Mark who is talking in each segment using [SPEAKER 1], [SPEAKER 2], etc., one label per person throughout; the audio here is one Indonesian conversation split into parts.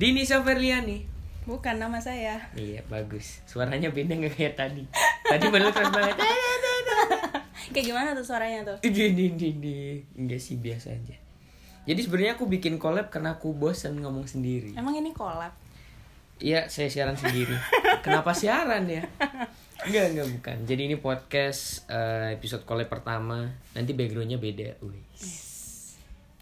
[SPEAKER 1] Dini Soferliani.
[SPEAKER 2] Bukan nama saya.
[SPEAKER 1] Iya, bagus. Suaranya beda nggak kayak tadi. Tadi baru keras banget.
[SPEAKER 2] Kayak gimana tuh suaranya tuh?
[SPEAKER 1] Dini, Dini. Enggak sih, biasa aja. Jadi sebenarnya aku bikin collab karena aku bosen ngomong sendiri.
[SPEAKER 2] Emang ini kolab?
[SPEAKER 1] Iya, saya siaran sendiri. Kenapa siaran ya? Enggak, enggak bukan. Jadi ini podcast eh, episode collab pertama. Nanti backgroundnya beda. Wis.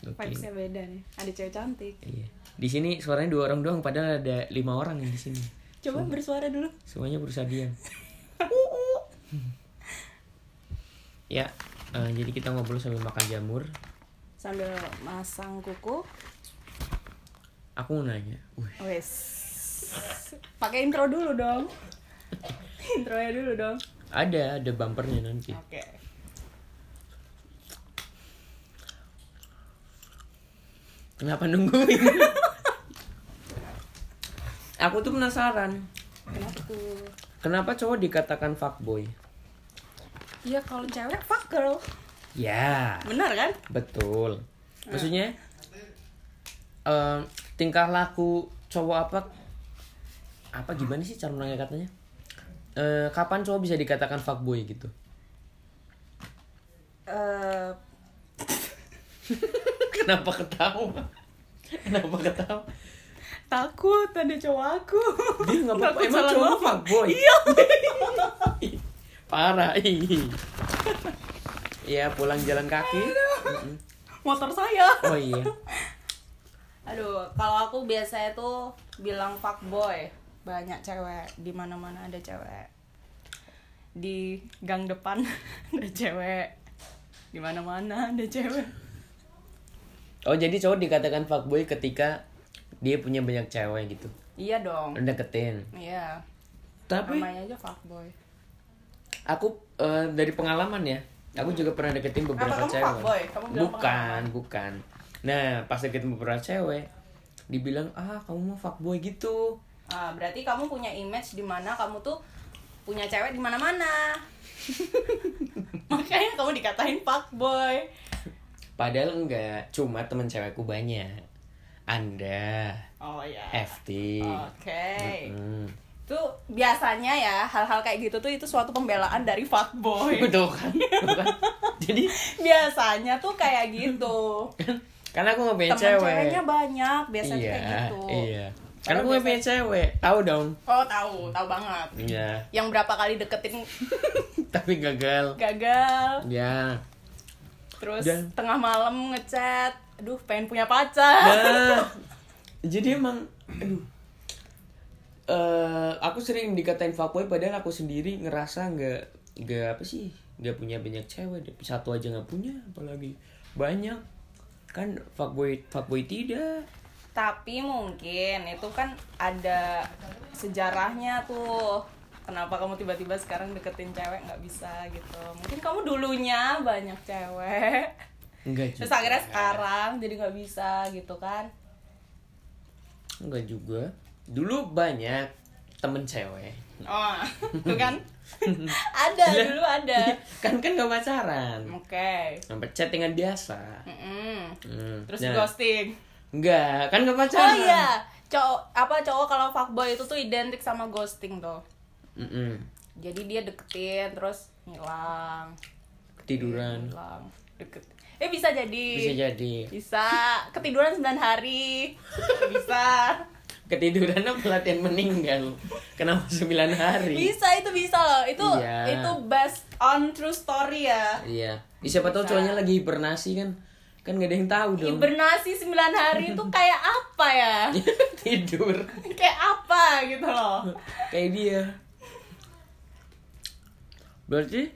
[SPEAKER 1] Oke.
[SPEAKER 2] Vibesnya beda nih. Ada cewek cantik.
[SPEAKER 1] Iya. Di sini suaranya dua orang doang, padahal ada lima orang yang di sini.
[SPEAKER 2] Coba bersuara dulu.
[SPEAKER 1] Semuanya berusaha diam. Ya, eh, jadi kita ngobrol sambil makan jamur.
[SPEAKER 2] Sambil masang kuku.
[SPEAKER 1] Aku mau nanya. Wih,
[SPEAKER 2] Wes. Pakai intro dulu dong. Intronya dulu dong.
[SPEAKER 1] ada, ada bumpernya nanti.
[SPEAKER 2] Oke.
[SPEAKER 1] Kenapa nungguin? Aku tuh penasaran.
[SPEAKER 2] Kenapa tuh?
[SPEAKER 1] Kenapa cowok dikatakan fuckboy?
[SPEAKER 2] Iya kalau cewek fuck girl.
[SPEAKER 1] Ya,
[SPEAKER 2] Benar kan?
[SPEAKER 1] betul. Maksudnya em, tingkah laku cowok apa apa gimana sih cara menangnya katanya? Eh, kapan cowok bisa dikatakan fuckboy gitu?
[SPEAKER 2] Eh
[SPEAKER 1] Kenapa ketawa? Kenapa ketawa?
[SPEAKER 2] takut ada cowok aku.
[SPEAKER 1] Dia nggak apa-apa.
[SPEAKER 2] Takut
[SPEAKER 1] Emang
[SPEAKER 2] salah
[SPEAKER 1] cowok
[SPEAKER 2] ngomong.
[SPEAKER 1] fuckboy?
[SPEAKER 2] Iya.
[SPEAKER 1] Parah. ih. Ya pulang jalan kaki. Mm-mm.
[SPEAKER 2] Motor saya.
[SPEAKER 1] Oh iya.
[SPEAKER 2] Aduh, kalau aku biasanya tuh bilang fuckboy. Banyak cewek, di mana-mana ada cewek. Di gang depan ada cewek. Di mana-mana ada cewek.
[SPEAKER 1] Oh jadi cowok dikatakan fuckboy ketika dia punya banyak cewek gitu.
[SPEAKER 2] Iya dong.
[SPEAKER 1] Udah deketin.
[SPEAKER 2] Iya.
[SPEAKER 1] Tapi
[SPEAKER 2] Namanya aja fuckboy.
[SPEAKER 1] aku eh, dari pengalaman ya, aku juga pernah deketin beberapa
[SPEAKER 2] Apa kamu
[SPEAKER 1] cewek.
[SPEAKER 2] fuckboy? Kamu bilang
[SPEAKER 1] bukan, bukan. Nah, pas deketin beberapa cewek, dibilang ah kamu mau fuckboy gitu.
[SPEAKER 2] Ah, berarti kamu punya image di mana kamu tuh punya cewek di mana-mana. Makanya kamu dikatain fuckboy.
[SPEAKER 1] Padahal enggak, cuma temen cewekku banyak. Anda,
[SPEAKER 2] Oh ya.
[SPEAKER 1] Eh. FT.
[SPEAKER 2] Oh, Oke.
[SPEAKER 1] Hmm.
[SPEAKER 2] itu biasanya ya hal-hal kayak gitu tuh itu suatu pembelaan dari fuckboy
[SPEAKER 1] Betul kan? Betul kan? Jadi
[SPEAKER 2] biasanya tuh kayak gitu
[SPEAKER 1] Kan? karena aku nggak punya
[SPEAKER 2] teman
[SPEAKER 1] cewek.
[SPEAKER 2] ceweknya banyak biasanya
[SPEAKER 1] iya,
[SPEAKER 2] kayak gitu
[SPEAKER 1] iya. Karena aku
[SPEAKER 2] Padahal
[SPEAKER 1] nggak punya cewek, tahu dong.
[SPEAKER 2] oh tahu tahu banget
[SPEAKER 1] Iya.
[SPEAKER 2] yang berapa kali deketin
[SPEAKER 1] Tapi gagal.
[SPEAKER 2] gagal
[SPEAKER 1] Ya.
[SPEAKER 2] terus
[SPEAKER 1] Dan-
[SPEAKER 2] tengah malam ngechat aduh pengen punya pacar
[SPEAKER 1] Nah, jadi emang aduh. Eh, aku sering dikatain fuckboy padahal aku sendiri ngerasa nggak nggak apa sih nggak punya banyak cewek satu aja nggak punya apalagi banyak kan fuckboy fuckboy tidak
[SPEAKER 2] tapi mungkin itu kan ada sejarahnya tuh kenapa kamu tiba-tiba sekarang deketin cewek nggak bisa gitu mungkin kamu dulunya banyak cewek
[SPEAKER 1] enggak
[SPEAKER 2] terus akhirnya sekarang jadi nggak bisa gitu kan
[SPEAKER 1] enggak juga dulu banyak temen cewek
[SPEAKER 2] oh itu kan ada
[SPEAKER 1] Iya.
[SPEAKER 2] dulu ada
[SPEAKER 1] kan kan gak pacaran
[SPEAKER 2] oke
[SPEAKER 1] sampai chattingan biasa
[SPEAKER 2] Mm-mm.
[SPEAKER 1] Hmm,
[SPEAKER 2] terus
[SPEAKER 1] nah,
[SPEAKER 2] ghosting
[SPEAKER 1] enggak kan gak
[SPEAKER 2] oh
[SPEAKER 1] pacaran
[SPEAKER 2] iya cowok apa cowok kalau fuckboy itu tuh identik sama ghosting tuh
[SPEAKER 1] Mm-mm.
[SPEAKER 2] jadi dia deketin terus ngilang
[SPEAKER 1] ketiduran
[SPEAKER 2] ngilang deket eh bisa jadi
[SPEAKER 1] bisa jadi
[SPEAKER 2] bisa ketiduran 9 hari bisa
[SPEAKER 1] ketiduran apa latihan meninggal kenapa 9 hari
[SPEAKER 2] bisa itu bisa loh itu
[SPEAKER 1] Iya.
[SPEAKER 2] itu based on true story ya
[SPEAKER 1] iya Ih, siapa tahu cowoknya lagi hibernasi kan kan gak ada yang tahu dong
[SPEAKER 2] hibernasi 9 hari itu kayak apa ya?
[SPEAKER 1] tidur
[SPEAKER 2] kayak apa gitu loh.
[SPEAKER 1] kayak dia berarti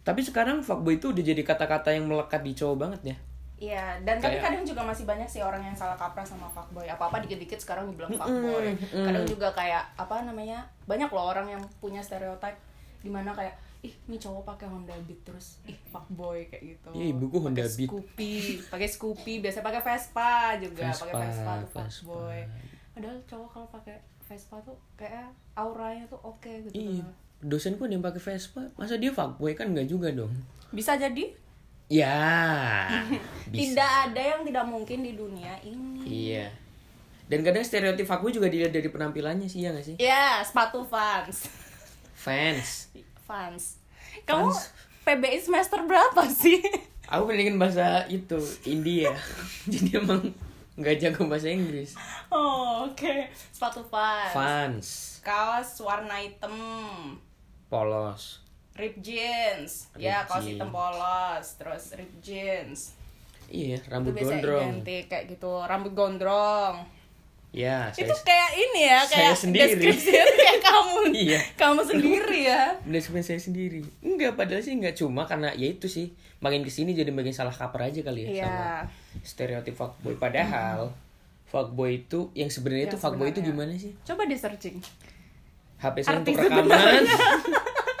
[SPEAKER 1] tapi sekarang fuckboy itu udah jadi kata-kata yang melekat di cowok banget ya
[SPEAKER 2] Iya, dan tapi
[SPEAKER 1] Kayak-
[SPEAKER 2] kadang juga masih banyak sih orang yang salah kaprah sama fuckboy. Apa-apa dikit-dikit sekarang dibilang fuckboy. Kadang juga kayak apa namanya? Banyak loh orang yang punya stereotip di mana kayak ih, ini cowok pakai Honda Beat terus ih fuckboy kayak gitu.
[SPEAKER 1] iya ibuku Honda
[SPEAKER 2] Pakai
[SPEAKER 1] Beat
[SPEAKER 2] Scoopy, pakai Scoopy, biasanya pakai Vespa juga, pakai
[SPEAKER 1] Vespa,
[SPEAKER 2] Vespa tuh
[SPEAKER 1] Vespa.
[SPEAKER 2] fuckboy. Padahal cowok kalau pakai Vespa tuh kayak auranya tuh oke gitu.
[SPEAKER 1] Iya.
[SPEAKER 2] loh.
[SPEAKER 1] dosenku ada yang pakai Vespa masa dia fuckboy kan nggak juga dong
[SPEAKER 2] Bisa jadi
[SPEAKER 1] ya bisa
[SPEAKER 2] tidak ada yang tidak mungkin di dunia ini.
[SPEAKER 1] iya dan kadang stereotip fuckboy juga dilihat dari penampilannya sih ya nggak sih
[SPEAKER 2] Ya, sepatu fans.
[SPEAKER 1] fans
[SPEAKER 2] Fans. Kamu PBI semester berapa sih?
[SPEAKER 1] aku pendidikan bahasa itu India jadi emang nggak jago bahasa Inggris
[SPEAKER 2] Oh, oke. Sepatu fans.
[SPEAKER 1] fans
[SPEAKER 2] Kaos warna hitam.
[SPEAKER 1] polos
[SPEAKER 2] Rip jeans. ya,
[SPEAKER 1] Ripped
[SPEAKER 2] kaos hitam
[SPEAKER 1] jeans.
[SPEAKER 2] polos, terus rip jeans.
[SPEAKER 1] iya
[SPEAKER 2] Itu
[SPEAKER 1] rambut
[SPEAKER 2] biasa
[SPEAKER 1] gondrong
[SPEAKER 2] identik kayak gitu, rambut gondrong.
[SPEAKER 1] ya saya
[SPEAKER 2] Itu kayak ini ya,
[SPEAKER 1] saya
[SPEAKER 2] kayak
[SPEAKER 1] sendiri.
[SPEAKER 2] deskripsi kayak kamu.
[SPEAKER 1] Iya.
[SPEAKER 2] Kamu sendiri ya.
[SPEAKER 1] mendeskripsikan saya sendiri enggak padahal sih enggak cuma karena ya itu sih makin kesini jadi makin salah kaprah aja kali ya
[SPEAKER 2] Iya.
[SPEAKER 1] sama stereotip fuckboy padahal fuckboy itu yang sebenarnya
[SPEAKER 2] Yang
[SPEAKER 1] itu fuckboy itu
[SPEAKER 2] sebenarnya.
[SPEAKER 1] gimana sih
[SPEAKER 2] Coba di searching.
[SPEAKER 1] HP saya
[SPEAKER 2] Arti
[SPEAKER 1] untuk rekaman
[SPEAKER 2] sebenarnya.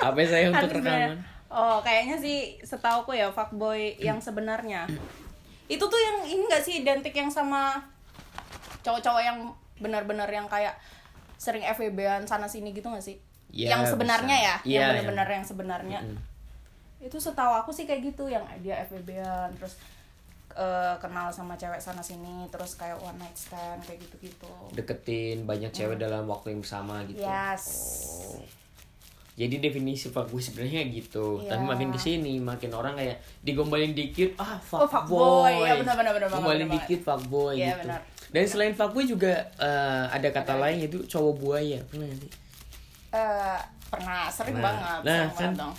[SPEAKER 1] HP saya untuk
[SPEAKER 2] Harus
[SPEAKER 1] rekaman
[SPEAKER 2] sebenarnya. Oh, kayaknya sih setauku ya fuckboy yang sebenarnya. Itu tuh yang ini gak sih identik yang sama cowok-cowok yang benar-benar yang kayak sering FWB-an sana sini gitu gak sih?
[SPEAKER 1] Ya,
[SPEAKER 2] yang sebenarnya
[SPEAKER 1] bisa.
[SPEAKER 2] ya,
[SPEAKER 1] Iya,
[SPEAKER 2] yang
[SPEAKER 1] yang-
[SPEAKER 2] benar-benar yang sebenarnya. Itu setahu aku sih kayak gitu yang dia FWB-an terus eh, kenal sama cewek sana sini terus kayak one night stand kayak gitu-gitu.
[SPEAKER 1] deketin banyak cewek
[SPEAKER 2] Hmm.
[SPEAKER 1] dalam waktu yang sama gitu
[SPEAKER 2] Yes.
[SPEAKER 1] Oh. jadi definisi fuckboy sebenarnya gitu tapi
[SPEAKER 2] Iya.
[SPEAKER 1] makin kesini makin orang kayak digombalin dikit ah
[SPEAKER 2] Oh,
[SPEAKER 1] fuckboy
[SPEAKER 2] fuckboy. Ya, benar, benar, benar banget,
[SPEAKER 1] gombalin
[SPEAKER 2] benar
[SPEAKER 1] dikit fuckboy
[SPEAKER 2] Iya,
[SPEAKER 1] gitu
[SPEAKER 2] benar.
[SPEAKER 1] dan selain fuckboy juga eh, ada kata lain yaitu cowok buaya pernah nggak sih?
[SPEAKER 2] Eh, pernah sering
[SPEAKER 1] Nah,
[SPEAKER 2] banget,
[SPEAKER 1] nah,
[SPEAKER 2] sering banget
[SPEAKER 1] kan-
[SPEAKER 2] dong.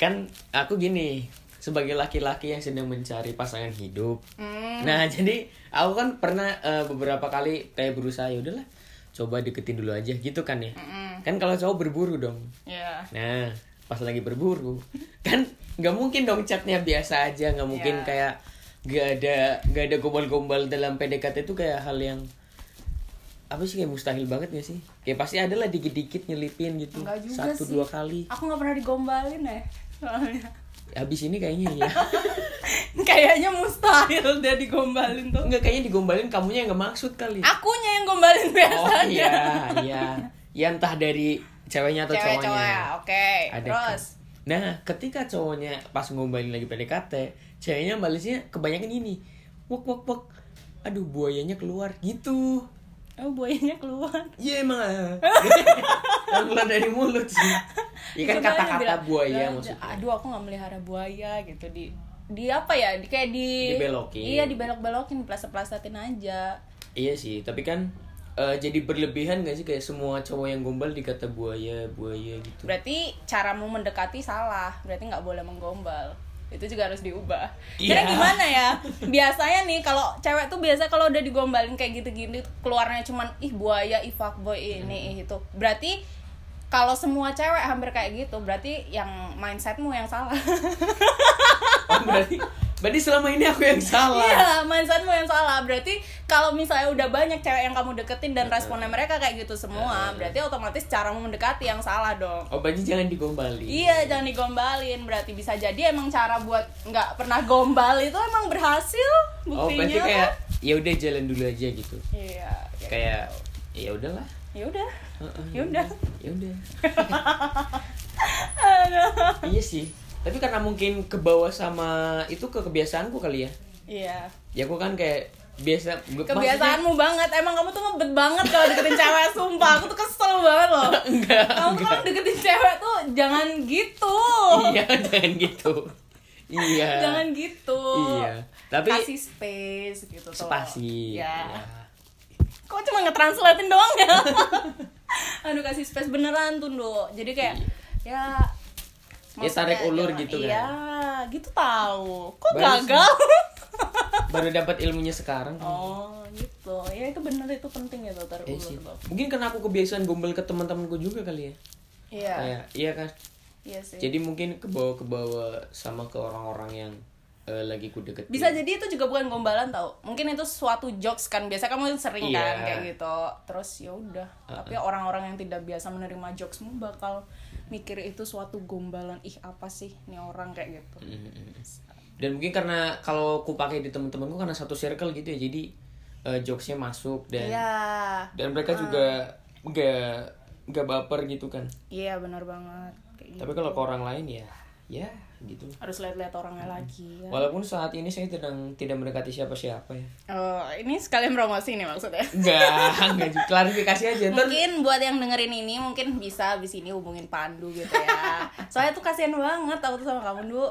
[SPEAKER 1] kan aku gini sebagai laki-laki yang sedang mencari pasangan hidup
[SPEAKER 2] Hmm.
[SPEAKER 1] Nah jadi aku kan pernah eh, beberapa kali kayak berusaha ya udahlah coba deketin dulu aja gitu kan ya.
[SPEAKER 2] Mm-mm.
[SPEAKER 1] Kan kalau cowok berburu dong.
[SPEAKER 2] Iya.
[SPEAKER 1] Nah pas lagi berburu kan nggak mungkin dong chatnya biasa aja nggak mungkin
[SPEAKER 2] Iya.
[SPEAKER 1] kayak nggak ada nggak ada gombal-gombal dalam PDKT itu kayak hal yang apa sih kayak mustahil banget gak sih? Kayak pasti ada lah dikit-dikit nyelipin gitu
[SPEAKER 2] Enggak juga
[SPEAKER 1] satu
[SPEAKER 2] sih.
[SPEAKER 1] dua kali.
[SPEAKER 2] Aku nggak pernah digombalin ya soalnya.
[SPEAKER 1] Habis ini kayaknya ya.
[SPEAKER 2] Kayaknya mustahil dia digombalin tuh.
[SPEAKER 1] Enggak kayaknya digombalin kamunya yang nggak maksud kali.
[SPEAKER 2] Akunya yang gombalin biasanya.
[SPEAKER 1] Oh iya, iya. Ya entah dari ceweknya atau
[SPEAKER 2] Cewek
[SPEAKER 1] cowoknya.
[SPEAKER 2] cowok, ya, oke.
[SPEAKER 1] Ada
[SPEAKER 2] Terus
[SPEAKER 1] kan. Nah, ketika cowoknya pas ngombalin lagi PDKT, ceweknya balesnya kebanyakan ini. Wok wok wok. Aduh, buayanya keluar gitu.
[SPEAKER 2] oh buayanya keluar.
[SPEAKER 1] Iya emang. ah. Yang keluar dari mulut sih. Ya kan
[SPEAKER 2] Coba dia
[SPEAKER 1] kata-kata
[SPEAKER 2] bilang-
[SPEAKER 1] buaya
[SPEAKER 2] bilang,
[SPEAKER 1] maksudnya.
[SPEAKER 2] Aduh, aku nggak melihara buaya gitu di di apa ya? Di kayak di
[SPEAKER 1] Dibelokin.
[SPEAKER 2] Iya, dibelok-belokin, plaset-plasetin aja.
[SPEAKER 1] Iya sih, tapi kan eh, jadi berlebihan gak sih kayak semua cowok yang gombal dikata buaya, buaya gitu.
[SPEAKER 2] Berarti caramu mendekati salah. Berarti nggak boleh menggombal. Itu juga harus diubah.
[SPEAKER 1] Iya.
[SPEAKER 2] Karena gimana ya? Biasanya nih kalau cewek tuh biasa kalau udah digombalin kayak gitu-gini keluarnya cuman ih buaya, ih fuckboy ini, ih itu. Berarti kalau semua cewek hampir kayak gitu, berarti yang mindsetmu yang salah.
[SPEAKER 1] Oh, berarti berarti selama ini aku yang salah.
[SPEAKER 2] Iya, mindsetmu yang salah. Berarti kalau misalnya udah banyak cewek yang kamu deketin dan responnya mereka kayak gitu
[SPEAKER 1] Iya,
[SPEAKER 2] semua, berarti otomatis caramu mendekati yang salah dong.
[SPEAKER 1] Oh, berarti jangan digombali.
[SPEAKER 2] Iya, jangan digombalin. Berarti bisa jadi emang cara buat nggak pernah gombal itu emang berhasil buktinya.
[SPEAKER 1] Oh berarti
[SPEAKER 2] kan?
[SPEAKER 1] kayak ya udah jalan dulu aja gitu.
[SPEAKER 2] Iya.
[SPEAKER 1] Kayak
[SPEAKER 2] kayak-
[SPEAKER 1] ya udahlah.
[SPEAKER 2] Ya udah.
[SPEAKER 1] Heeh,
[SPEAKER 2] Ya udah.
[SPEAKER 1] Ya udah. iya sih. Tapi karena mungkin ke bawah sama itu ke kebiasaanku kali ya.
[SPEAKER 2] Iya.
[SPEAKER 1] Ya aku kan kayak biasa maksudnya-
[SPEAKER 2] Kebiasaanmu banget. Emang kamu tuh ngebet banget kalau deketin cewek, sumpah. Aku tuh kesel banget loh.
[SPEAKER 1] Enggak,
[SPEAKER 2] Kamu tuh kalau deketin cewek tuh jangan gitu.
[SPEAKER 1] Iya, jangan gitu. Iya.
[SPEAKER 2] Jangan gitu.
[SPEAKER 1] Iya. Tapi
[SPEAKER 2] kasih space gitu tuh.
[SPEAKER 1] spasi.
[SPEAKER 2] Ya.
[SPEAKER 1] Ya.
[SPEAKER 2] Kok cuma ngetranslatein doang ya? Aduh kasih space beneran tuh, Nduk. Jadi kayak ya
[SPEAKER 1] Ya, tarik
[SPEAKER 2] maksudnya
[SPEAKER 1] ulur
[SPEAKER 2] jangan-
[SPEAKER 1] gitu kan.
[SPEAKER 2] Iya, gitu tahu. Kok
[SPEAKER 1] Baru sih.
[SPEAKER 2] gagal?
[SPEAKER 1] Baru dapat ilmunya sekarang.
[SPEAKER 2] oh, gitu. Ya itu bener itu penting itu tarik
[SPEAKER 1] Iya
[SPEAKER 2] ulur
[SPEAKER 1] sih.
[SPEAKER 2] tuh.
[SPEAKER 1] Mungkin karena aku kebiasaan gombal ke teman-temanku juga kali ya.
[SPEAKER 2] Iya.
[SPEAKER 1] Kayak iya kan.
[SPEAKER 2] Iya sih.
[SPEAKER 1] Jadi mungkin ke bawah ke bawah sama ke orang-orang yang eh, lagi ku deketin.
[SPEAKER 2] bisa jadi itu juga bukan gombalan tau mungkin itu suatu jokes kan biasa kamu sering kan
[SPEAKER 1] Iya.
[SPEAKER 2] kayak gitu terus ya udah tapi orang-orang yang tidak biasa menerima jokesmu bakal mikir itu suatu gombalan ih apa sih nih orang kayak gitu
[SPEAKER 1] Mm, Dan mungkin karena kalau ku pakai di teman-temanku karena satu circle gitu ya. Jadi eh, jokesnya masuk dan
[SPEAKER 2] Iya.
[SPEAKER 1] dan mereka juga nggak nggak baper gitu kan
[SPEAKER 2] iya benar banget kayak gitu.
[SPEAKER 1] tapi kalau ke orang lain ya ya gitu
[SPEAKER 2] harus lihat-lihat orangnya lagi ya.
[SPEAKER 1] walaupun saat ini saya sedang tidak mendekati siapa-siapa ya
[SPEAKER 2] Oh, ini sekalian promosi nih maksudnya
[SPEAKER 1] Enggak, enggak juga. klarifikasi aja ntar
[SPEAKER 2] mungkin buat yang dengerin ini mungkin bisa abis ini hubungin Pandu gitu ya soalnya tuh kasihan banget aku tuh sama kamu dulu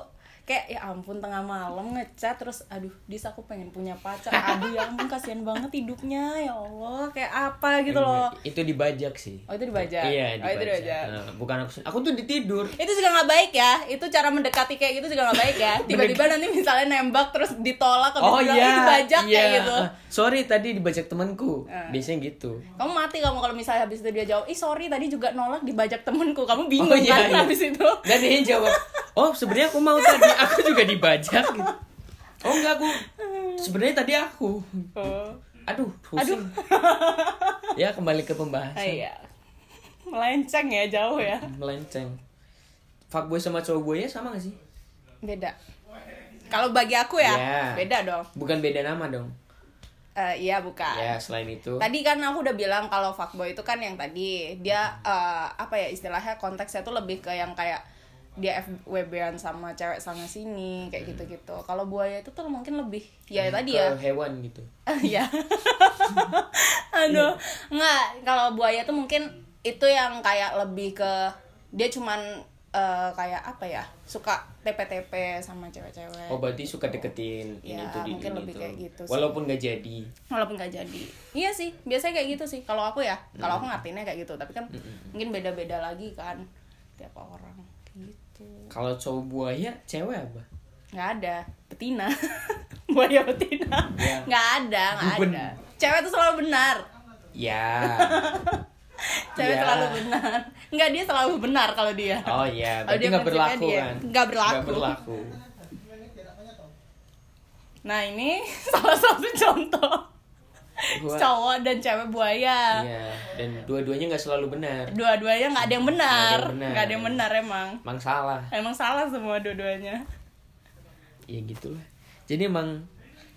[SPEAKER 2] kayak ya ampun tengah malam ngecat terus aduh dis aku pengen punya pacar aduh ya ampun kasihan banget hidupnya ya Allah kayak apa gitu loh
[SPEAKER 1] itu dibajak sih
[SPEAKER 2] Oh, itu dibajak?
[SPEAKER 1] iya dibajak,
[SPEAKER 2] Oh, itu dibajak.
[SPEAKER 1] Eh, bukan aku sen- aku tuh ditidur
[SPEAKER 2] itu juga nggak baik ya itu cara mendekati kayak gitu juga nggak baik ya tiba-tiba nanti misalnya nembak terus ditolak habis
[SPEAKER 1] oh
[SPEAKER 2] bilang, "Ih,
[SPEAKER 1] iya
[SPEAKER 2] dibajak
[SPEAKER 1] iya.
[SPEAKER 2] kayak gitu Ah.
[SPEAKER 1] Eh, sorry tadi dibajak temanku biasanya gitu
[SPEAKER 2] kamu mati kamu kalau misalnya habis itu dia jawab ih sorry tadi juga nolak dibajak temenku kamu
[SPEAKER 1] Oh,
[SPEAKER 2] bingung
[SPEAKER 1] iya,
[SPEAKER 2] kan
[SPEAKER 1] iya.
[SPEAKER 2] habis itu
[SPEAKER 1] dan dia jawab oh sebenarnya aku mau tadi aku juga dibajak gitu oh enggak aku sebenarnya tadi aku
[SPEAKER 2] Oh,
[SPEAKER 1] aduh pusing ya kembali ke
[SPEAKER 2] Ah,
[SPEAKER 1] pembahasan
[SPEAKER 2] iya melenceng ya jauh ya
[SPEAKER 1] melenceng fuckboy sama cowok gue ya sama gak sih
[SPEAKER 2] beda kalau bagi aku ya
[SPEAKER 1] Iya.
[SPEAKER 2] beda dong
[SPEAKER 1] bukan beda nama dong
[SPEAKER 2] Eh, iya bukan
[SPEAKER 1] ya selain itu
[SPEAKER 2] Tadi kan aku udah bilang kalau fuckboy itu kan yang tadi dia eh, apa ya istilahnya konteksnya tuh lebih ke yang kayak dia FWB-an sama cewek sana sini kayak gitu-gitu. Kalau buaya itu tuh mungkin lebih ya tadi ya.
[SPEAKER 1] ke hewan gitu
[SPEAKER 2] ya. Aduh, nggak kalau buaya tuh mungkin itu yang kayak lebih ke dia cuman eh, kayak apa ya? Suka TP-TP sama cewek-cewek.
[SPEAKER 1] oh berarti suka deketin ini
[SPEAKER 2] Ya,
[SPEAKER 1] tuh di
[SPEAKER 2] mungkin
[SPEAKER 1] ini
[SPEAKER 2] lebih
[SPEAKER 1] tuh.
[SPEAKER 2] kayak gitu sih.
[SPEAKER 1] walaupun gak jadi
[SPEAKER 2] walaupun nggak jadi iya sih biasanya kayak gitu sih kalau aku ya kalau aku ngartinya kayak gitu tapi kan mungkin beda-beda lagi kan tiap orang Kayak gitu
[SPEAKER 1] kalau cowok buaya cewek apa
[SPEAKER 2] nggak ada betina buaya betina
[SPEAKER 1] Ya.
[SPEAKER 2] nggak ada nggak
[SPEAKER 1] Guben.
[SPEAKER 2] ada cewek tuh selalu benar
[SPEAKER 1] ya
[SPEAKER 2] cewek
[SPEAKER 1] Ya.
[SPEAKER 2] selalu benar nggak dia selalu benar kalau dia
[SPEAKER 1] oh ya
[SPEAKER 2] Kalau
[SPEAKER 1] berarti
[SPEAKER 2] dia
[SPEAKER 1] nggak berlaku
[SPEAKER 2] prinsipnya
[SPEAKER 1] kan
[SPEAKER 2] dia. Nggak berlaku.
[SPEAKER 1] Nggak berlaku
[SPEAKER 2] nah ini salah satu contoh
[SPEAKER 1] Gua-
[SPEAKER 2] cowok dan cewek buaya
[SPEAKER 1] Iya, dan dua-duanya nggak selalu benar.
[SPEAKER 2] dua-duanya nggak ada yang benar
[SPEAKER 1] Nggak ada yang benar.
[SPEAKER 2] nggak ada yang benar emang
[SPEAKER 1] Emang salah.
[SPEAKER 2] emang salah semua dua-duanya
[SPEAKER 1] Ya gitulah. Jadi emang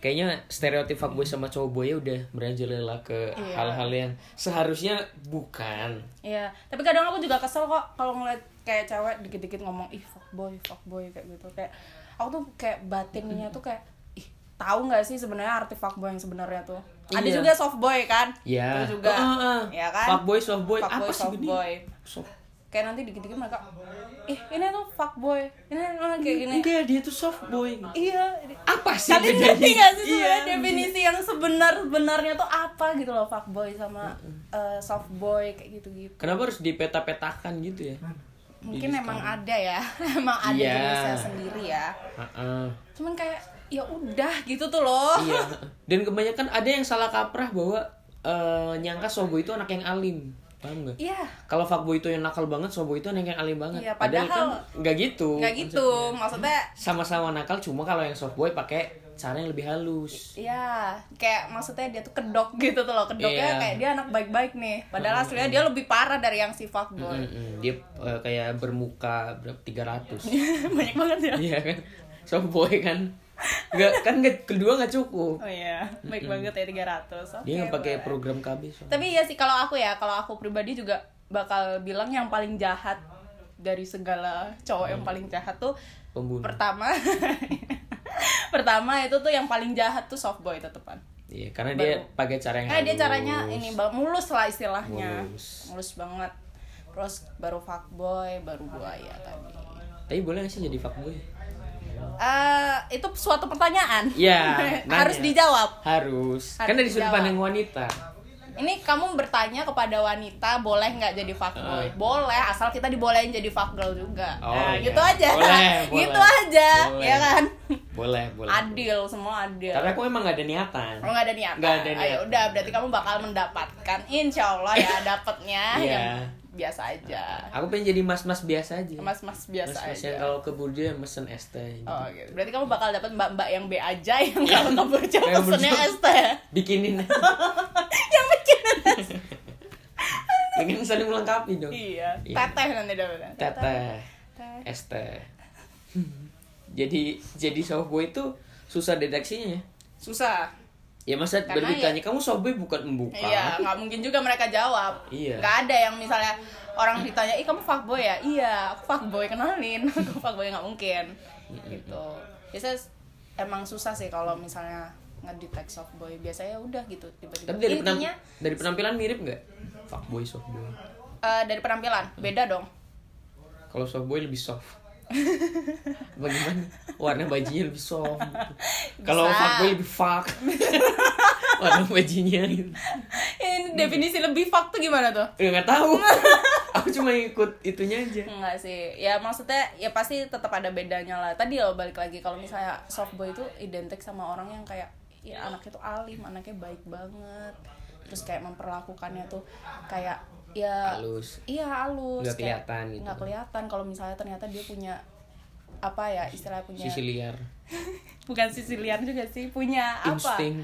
[SPEAKER 1] kayaknya stereotip fuckboy sama cowok boy udah merajalela ke
[SPEAKER 2] Iya.
[SPEAKER 1] hal-hal yang seharusnya bukan.
[SPEAKER 2] Iya, tapi kadang aku juga kesel kok kalau ngeliat kayak cewek dikit-dikit ngomong ih fuckboy, fuckboy kayak gitu. Kayak aku tuh kayak batinnya tuh kayak ih, tahu nggak sih sebenarnya arti fuckboy yang sebenarnya tuh? Ada
[SPEAKER 1] Iya.
[SPEAKER 2] juga softboy kan?
[SPEAKER 1] Ya.
[SPEAKER 2] Itu juga.
[SPEAKER 1] Oh, oh, oh.
[SPEAKER 2] Ya kan?
[SPEAKER 1] Fuckboy, softboy,
[SPEAKER 2] Fuckboy,
[SPEAKER 1] apa sih ini?
[SPEAKER 2] softboy.
[SPEAKER 1] Soft-
[SPEAKER 2] Kayak nanti dikit-dikit mereka ih, ini tuh fuckboy. Ini oh, kayak gini.
[SPEAKER 1] Enggak, dia tuh softboy.
[SPEAKER 2] Iya.
[SPEAKER 1] Apa sih
[SPEAKER 2] Kalian
[SPEAKER 1] bedanya?
[SPEAKER 2] ngerti gak
[SPEAKER 1] Iya.
[SPEAKER 2] sih sebenarnya definisi yang sebenar-benarnya tuh apa gitu loh fuckboy sama eh, softboy kayak gitu-gitu.
[SPEAKER 1] Kenapa harus dipeta-petakan gitu ya?
[SPEAKER 2] mungkin emang ada ya emang ada
[SPEAKER 1] Iya.
[SPEAKER 2] jenisnya sendiri ya
[SPEAKER 1] Heeh.
[SPEAKER 2] cuman kayak ya udah gitu tuh loh
[SPEAKER 1] Iya. Dan kebanyakan ada yang salah kaprah bahwa eh, nyangka softboy itu anak yang alim. Paham nggak?
[SPEAKER 2] iya
[SPEAKER 1] kalau fuckboy itu yang nakal banget, sobo itu yang yang alim banget.
[SPEAKER 2] Iya,
[SPEAKER 1] kan
[SPEAKER 2] padahal-
[SPEAKER 1] nggak gitu.
[SPEAKER 2] nggak gitu
[SPEAKER 1] konsepnya.
[SPEAKER 2] maksudnya
[SPEAKER 1] Sama-sama nakal, cuma kalau yang softboy pakai cara yang lebih halus.
[SPEAKER 2] ya kayak maksudnya dia tuh kedok gitu tuh loh kedoknya
[SPEAKER 1] Iya.
[SPEAKER 2] kayak dia anak baik-baik nih padahal aslinya dia lebih parah dari yang si fuckboy
[SPEAKER 1] Mm-mm, Dia eh, kayak bermuka berapa 300.
[SPEAKER 2] banyak banget ya
[SPEAKER 1] Iya kan? Softboy kan. Nggak kan nggak- kedua nggak cukup.
[SPEAKER 2] oh iya baik banget ya 300 oke
[SPEAKER 1] Dia nggak pakai
[SPEAKER 2] boleh.
[SPEAKER 1] program KB. so.
[SPEAKER 2] tapi ya sih kalau aku ya kalau aku pribadi juga bakal bilang yang paling jahat dari segala cowok
[SPEAKER 1] Mm.
[SPEAKER 2] yang paling jahat tuh
[SPEAKER 1] Pembunuh.
[SPEAKER 2] pertama pertama itu tuh yang paling jahat tuh softboy tetepan
[SPEAKER 1] Iya, karena dia pakai cara yang
[SPEAKER 2] kayak Eh, dia
[SPEAKER 1] halus.
[SPEAKER 2] caranya ini ba- mulus lah istilahnya mulus,
[SPEAKER 1] Mulus.
[SPEAKER 2] banget terus baru fuckboy baru buaya tadi
[SPEAKER 1] Tapi boleh nggak sih jadi fuckboy?
[SPEAKER 2] Eh itu suatu pertanyaan
[SPEAKER 1] Iya,
[SPEAKER 2] harus
[SPEAKER 1] nanya.
[SPEAKER 2] dijawab
[SPEAKER 1] Harus.
[SPEAKER 2] Harus
[SPEAKER 1] Kan dari sudut
[SPEAKER 2] dijawab.
[SPEAKER 1] pandang wanita.
[SPEAKER 2] ini kamu bertanya kepada wanita boleh nggak jadi fuckboy boleh asal kita dibolehin jadi fuckgirl juga
[SPEAKER 1] Eh. Oh,
[SPEAKER 2] nah,
[SPEAKER 1] iya.
[SPEAKER 2] gitu aja
[SPEAKER 1] Boleh, boleh.
[SPEAKER 2] gitu aja
[SPEAKER 1] Boleh.
[SPEAKER 2] ya kan
[SPEAKER 1] Boleh, boleh.
[SPEAKER 2] adil semua adil
[SPEAKER 1] Tapi aku emang gak ada niatan.
[SPEAKER 2] Kalau nggak ada niat.
[SPEAKER 1] Nggak ada
[SPEAKER 2] Ayo,
[SPEAKER 1] niatan.
[SPEAKER 2] udah berarti kamu bakal mendapatkan insya Allah ya dapatnya
[SPEAKER 1] Iya.
[SPEAKER 2] yang biasa aja.
[SPEAKER 1] Aku pengen jadi mas-mas biasa aja.
[SPEAKER 2] Mas-mas biasa
[SPEAKER 1] Mas-mas
[SPEAKER 2] aja.
[SPEAKER 1] yang kalau ke Burjo yang mesen es teh. gitu.
[SPEAKER 2] Oh, gitu. Berarti kamu bakal dapat mbak-mbak yang B aja yang
[SPEAKER 1] Iya.
[SPEAKER 2] kalau kabur jam
[SPEAKER 1] Kayak
[SPEAKER 2] pesennya
[SPEAKER 1] burjo.
[SPEAKER 2] ST.
[SPEAKER 1] Bikinin.
[SPEAKER 2] yang bikin
[SPEAKER 1] Ya kan saling melengkapi dong.
[SPEAKER 2] Iya.
[SPEAKER 1] Iya.
[SPEAKER 2] Teteh nanti dapatnya.
[SPEAKER 1] Teteh, es teh. Jadi jadi softboy itu susah deteksinya. ya.
[SPEAKER 2] Susah.
[SPEAKER 1] ya masa
[SPEAKER 2] Karena
[SPEAKER 1] bertanya kamu sobe bukan membuka
[SPEAKER 2] Iya, nggak mungkin juga mereka jawab.
[SPEAKER 1] Kan? Iya.
[SPEAKER 2] Nggak ada yang misalnya orang ditanya, "Ih, kamu fuckboy ya?" Iya, aku fuckboy, kenalin. aku fuckboy nggak mungkin. Gitu. Biasanya s- emang susah sih kalau misalnya ngedetect softboy. Biasanya udah gitu tiba-tiba.
[SPEAKER 1] tapi dari, penam-
[SPEAKER 2] Intinya
[SPEAKER 1] dari penampilan mirip nggak fuckboy softboy
[SPEAKER 2] eh, dari penampilan beda dong.
[SPEAKER 1] kalau softboy lebih soft bagaimana warna bajunya lebih soft gitu. kalau
[SPEAKER 2] Bisa.
[SPEAKER 1] fuckboy lebih fuck warna bajunya gitu
[SPEAKER 2] Ini definisi lebih fuck tuh gimana tuh?
[SPEAKER 1] Ya, nggak tahu aku cuma ikut itunya aja
[SPEAKER 2] Enggak sih, ya maksudnya ya pasti tetap ada bedanya lah. Tadi loh balik lagi kalau misalnya softboy itu identik sama orang yang kayak ya anaknya tuh alim, anaknya baik banget, terus kayak memperlakukannya tuh kayak ya
[SPEAKER 1] Halus.
[SPEAKER 2] iya halus,
[SPEAKER 1] Nggak
[SPEAKER 2] kayak
[SPEAKER 1] kelihatan gitu.
[SPEAKER 2] nggak kelihatan kalau misalnya ternyata dia punya apa ya istilahnya punya
[SPEAKER 1] sisi liar
[SPEAKER 2] bukan sisi liar juga sih punya apa Eh.
[SPEAKER 1] insting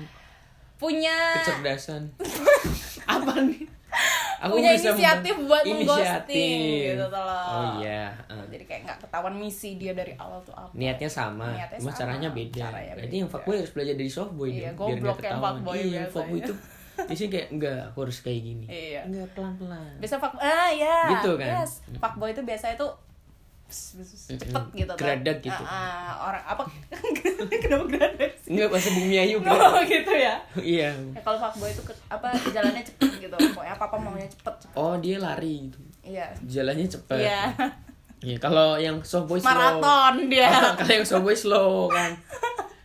[SPEAKER 2] punya
[SPEAKER 1] kecerdasan apa nih
[SPEAKER 2] Punya
[SPEAKER 1] bisa
[SPEAKER 2] inisiatif buat
[SPEAKER 1] Inisiatif.
[SPEAKER 2] mengghosting, gitu tuh loh.
[SPEAKER 1] oh iya eh.
[SPEAKER 2] jadi kayak nggak ketahuan misi dia dari awal tuh apa
[SPEAKER 1] niatnya sama
[SPEAKER 2] Niatnya
[SPEAKER 1] cuma
[SPEAKER 2] sama,
[SPEAKER 1] caranya beda
[SPEAKER 2] caranya
[SPEAKER 1] berarti
[SPEAKER 2] beda.
[SPEAKER 1] yang fuckboy harus belajar dari softboy
[SPEAKER 2] Iya,
[SPEAKER 1] dong, biar
[SPEAKER 2] goblok
[SPEAKER 1] nggak
[SPEAKER 2] yang
[SPEAKER 1] ketahuan
[SPEAKER 2] fuckboy
[SPEAKER 1] iya yang
[SPEAKER 2] biasanya.
[SPEAKER 1] fuckboy itu biasanya kayak enggak aku harus kayak gini
[SPEAKER 2] Iya.
[SPEAKER 1] enggak pelan pelan
[SPEAKER 2] biasa fuck ah ya
[SPEAKER 1] Gitu kan?
[SPEAKER 2] yes fuckboy itu biasanya tuh pss, pss, pss, cepet
[SPEAKER 1] Mm-mm.
[SPEAKER 2] gitu
[SPEAKER 1] Geradak gitu.
[SPEAKER 2] Ah, ah, orang apa kenapa geradak sih
[SPEAKER 1] enggak bahasa bumi ayu kan
[SPEAKER 2] oh gitu ya
[SPEAKER 1] iya
[SPEAKER 2] Ya, kalau fuckboy itu ke- apa jalannya cepet gitu pokoknya apa apa maunya cepet cepet
[SPEAKER 1] oh dia lari gitu
[SPEAKER 2] iya
[SPEAKER 1] jalannya cepat
[SPEAKER 2] iya
[SPEAKER 1] Iya, kalau yang softboy slow
[SPEAKER 2] maraton ya. dia
[SPEAKER 1] kalau yang softboy slow kan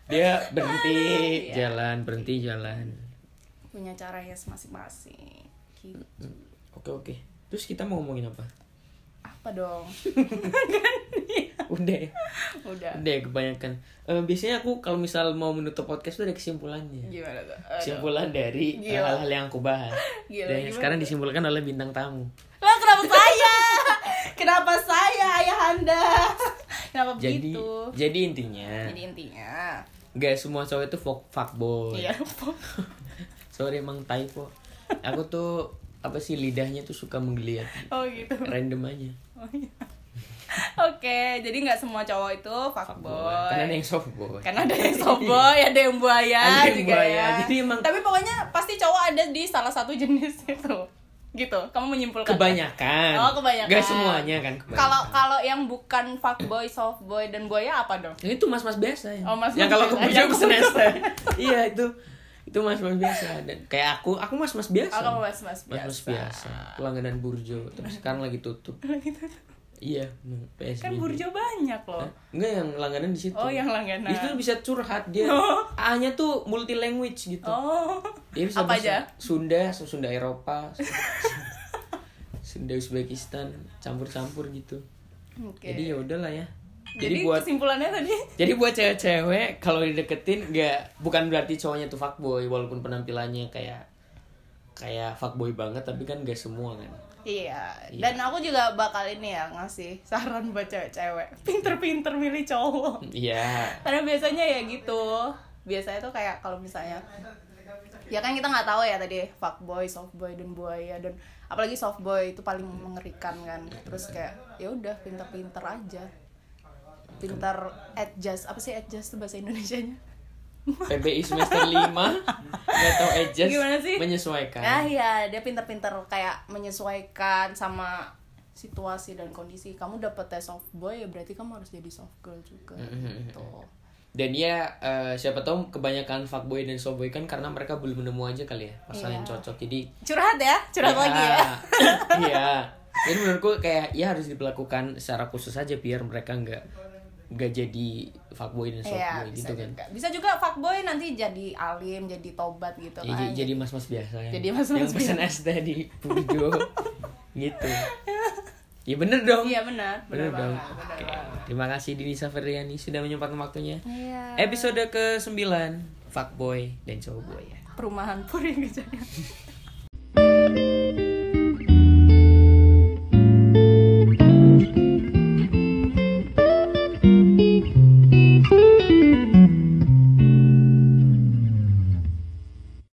[SPEAKER 1] dia berhenti
[SPEAKER 2] Iya.
[SPEAKER 1] jalan berhenti jalan
[SPEAKER 2] punya caranya masing-masing Gitu.
[SPEAKER 1] oke oke terus kita mau ngomongin apa
[SPEAKER 2] apa dong
[SPEAKER 1] udah ya
[SPEAKER 2] udah
[SPEAKER 1] udah ya, kebanyakan Eh, biasanya aku kalau misal mau menutup podcast tuh ada kesimpulannya
[SPEAKER 2] gimana tuh Aduh.
[SPEAKER 1] kesimpulan dari eh,
[SPEAKER 2] Gila.
[SPEAKER 1] hal-hal yang aku bahas
[SPEAKER 2] Gila,
[SPEAKER 1] dan
[SPEAKER 2] gimana
[SPEAKER 1] sekarang disimpulkan oleh bintang tamu
[SPEAKER 2] Lah kenapa saya? kenapa saya ayah anda? Kenapa
[SPEAKER 1] jadi
[SPEAKER 2] begitu?
[SPEAKER 1] jadi intinya
[SPEAKER 2] Oh, gitu. Jadi intinya
[SPEAKER 1] gak semua cowok itu fuck fuckboy
[SPEAKER 2] Iya.
[SPEAKER 1] sorry emang typo aku tuh apa sih lidahnya tuh suka menggeliat
[SPEAKER 2] oh gitu.
[SPEAKER 1] random aja
[SPEAKER 2] Oh, iya. Oke, jadi nggak semua cowok itu fuckboy.
[SPEAKER 1] karena ada yang softboy
[SPEAKER 2] Karena ada yang soboy, ada yang buaya
[SPEAKER 1] Ada yang
[SPEAKER 2] juga
[SPEAKER 1] buaya.
[SPEAKER 2] ya.
[SPEAKER 1] Jadi emang-
[SPEAKER 2] Tapi pokoknya pasti cowok ada di salah satu jenis itu. Gitu. Kamu menyimpulkan.
[SPEAKER 1] kebanyakan
[SPEAKER 2] Oh, kebanyakan.
[SPEAKER 1] gak semuanya kan kebanyakan.
[SPEAKER 2] Kalau kalau yang bukan fuckboy, softboy dan buaya apa dong?
[SPEAKER 1] Yang Nah, itu mas-mas biasa ya.
[SPEAKER 2] Oh, mas-mas
[SPEAKER 1] yang kalau ke
[SPEAKER 2] biasa.
[SPEAKER 1] pojok
[SPEAKER 2] Yang
[SPEAKER 1] ke
[SPEAKER 2] ke pojok.
[SPEAKER 1] semester. iya, itu itu mas-mas biasa dan kayak aku, aku mas-mas biasa.
[SPEAKER 2] Kalau mas-mas biasa.
[SPEAKER 1] mas-mas biasa. Pelangganan Burjo, tapi sekarang lagi tutup. iya, mm, PSBB.
[SPEAKER 2] Gitu. Kan burjo banyak loh.
[SPEAKER 1] Hah? Enggak yang langganan di situ.
[SPEAKER 2] Oh, yang langganan.
[SPEAKER 1] Itu bisa curhat dia. A-nya tuh multi language gitu.
[SPEAKER 2] Oh.
[SPEAKER 1] Dia bisa
[SPEAKER 2] Apa
[SPEAKER 1] bahasa
[SPEAKER 2] aja?
[SPEAKER 1] Sunda, Sunda Eropa, Sunda Uzbekistan, campur-campur gitu.
[SPEAKER 2] Oke.
[SPEAKER 1] Jadi ya udahlah ya.
[SPEAKER 2] Jadi, kesimpulannya tadi
[SPEAKER 1] Jadi buat cewek-cewek kalau dideketin nggak bukan berarti cowoknya tuh fuckboy walaupun penampilannya kayak kayak fuckboy banget tapi kan nggak semua kan.
[SPEAKER 2] Iya, dan aku juga bakal ini ya ngasih saran buat cewek-cewek Pinter-pinter milih cowok
[SPEAKER 1] Iya.
[SPEAKER 2] Karena biasanya ya gitu Biasanya tuh kayak kalau misalnya Ya kan kita nggak tahu ya tadi Fuckboy, softboy, dan buaya dan Apalagi softboy itu paling mengerikan kan Terus kayak ya udah pinter-pinter aja Pinter adjust, apa sih adjust tuh bahasa Indonesianya?
[SPEAKER 1] PBI semester 5 nggak tahu adjust
[SPEAKER 2] Gimana sih?
[SPEAKER 1] menyesuaikan.
[SPEAKER 2] Ah iya, dia pinter-pinter kayak menyesuaikan sama situasi dan kondisi. Kamu dapet tes soft boy ya berarti kamu harus jadi soft girl juga
[SPEAKER 1] Hmm.
[SPEAKER 2] gitu.
[SPEAKER 1] Dan ya eh, siapa tahu kebanyakan fuckboy dan softboy kan karena mereka belum nemu aja kali ya pasangan yang
[SPEAKER 2] Iya.
[SPEAKER 1] cocok. Jadi
[SPEAKER 2] Curhat ya, curhat lagi ya.
[SPEAKER 1] Iya. Jadi menurutku kayak ya harus diperlakukan secara khusus aja biar mereka nggak nggak jadi fuckboy dan
[SPEAKER 2] Iya,
[SPEAKER 1] softboy
[SPEAKER 2] bisa
[SPEAKER 1] gitu kan.
[SPEAKER 2] juga. Bisa juga fuckboy nanti jadi alim, jadi tobat gitu
[SPEAKER 1] Ya, j-
[SPEAKER 2] kan.
[SPEAKER 1] jadi mas-mas biasa ya.
[SPEAKER 2] Jadi mas-mas
[SPEAKER 1] yang pesan es teh di Purjo gitu. Ya bener dong.
[SPEAKER 2] Iya benar,
[SPEAKER 1] bener, dong.
[SPEAKER 2] banget, benar
[SPEAKER 1] Oke.
[SPEAKER 2] banget.
[SPEAKER 1] Terima kasih Dinisa Ferdiani sudah menyempatkan waktunya.
[SPEAKER 2] Iya.
[SPEAKER 1] Episode ke-9 Fuckboy dan Cowboy ya.
[SPEAKER 2] Perumahan puri gitu.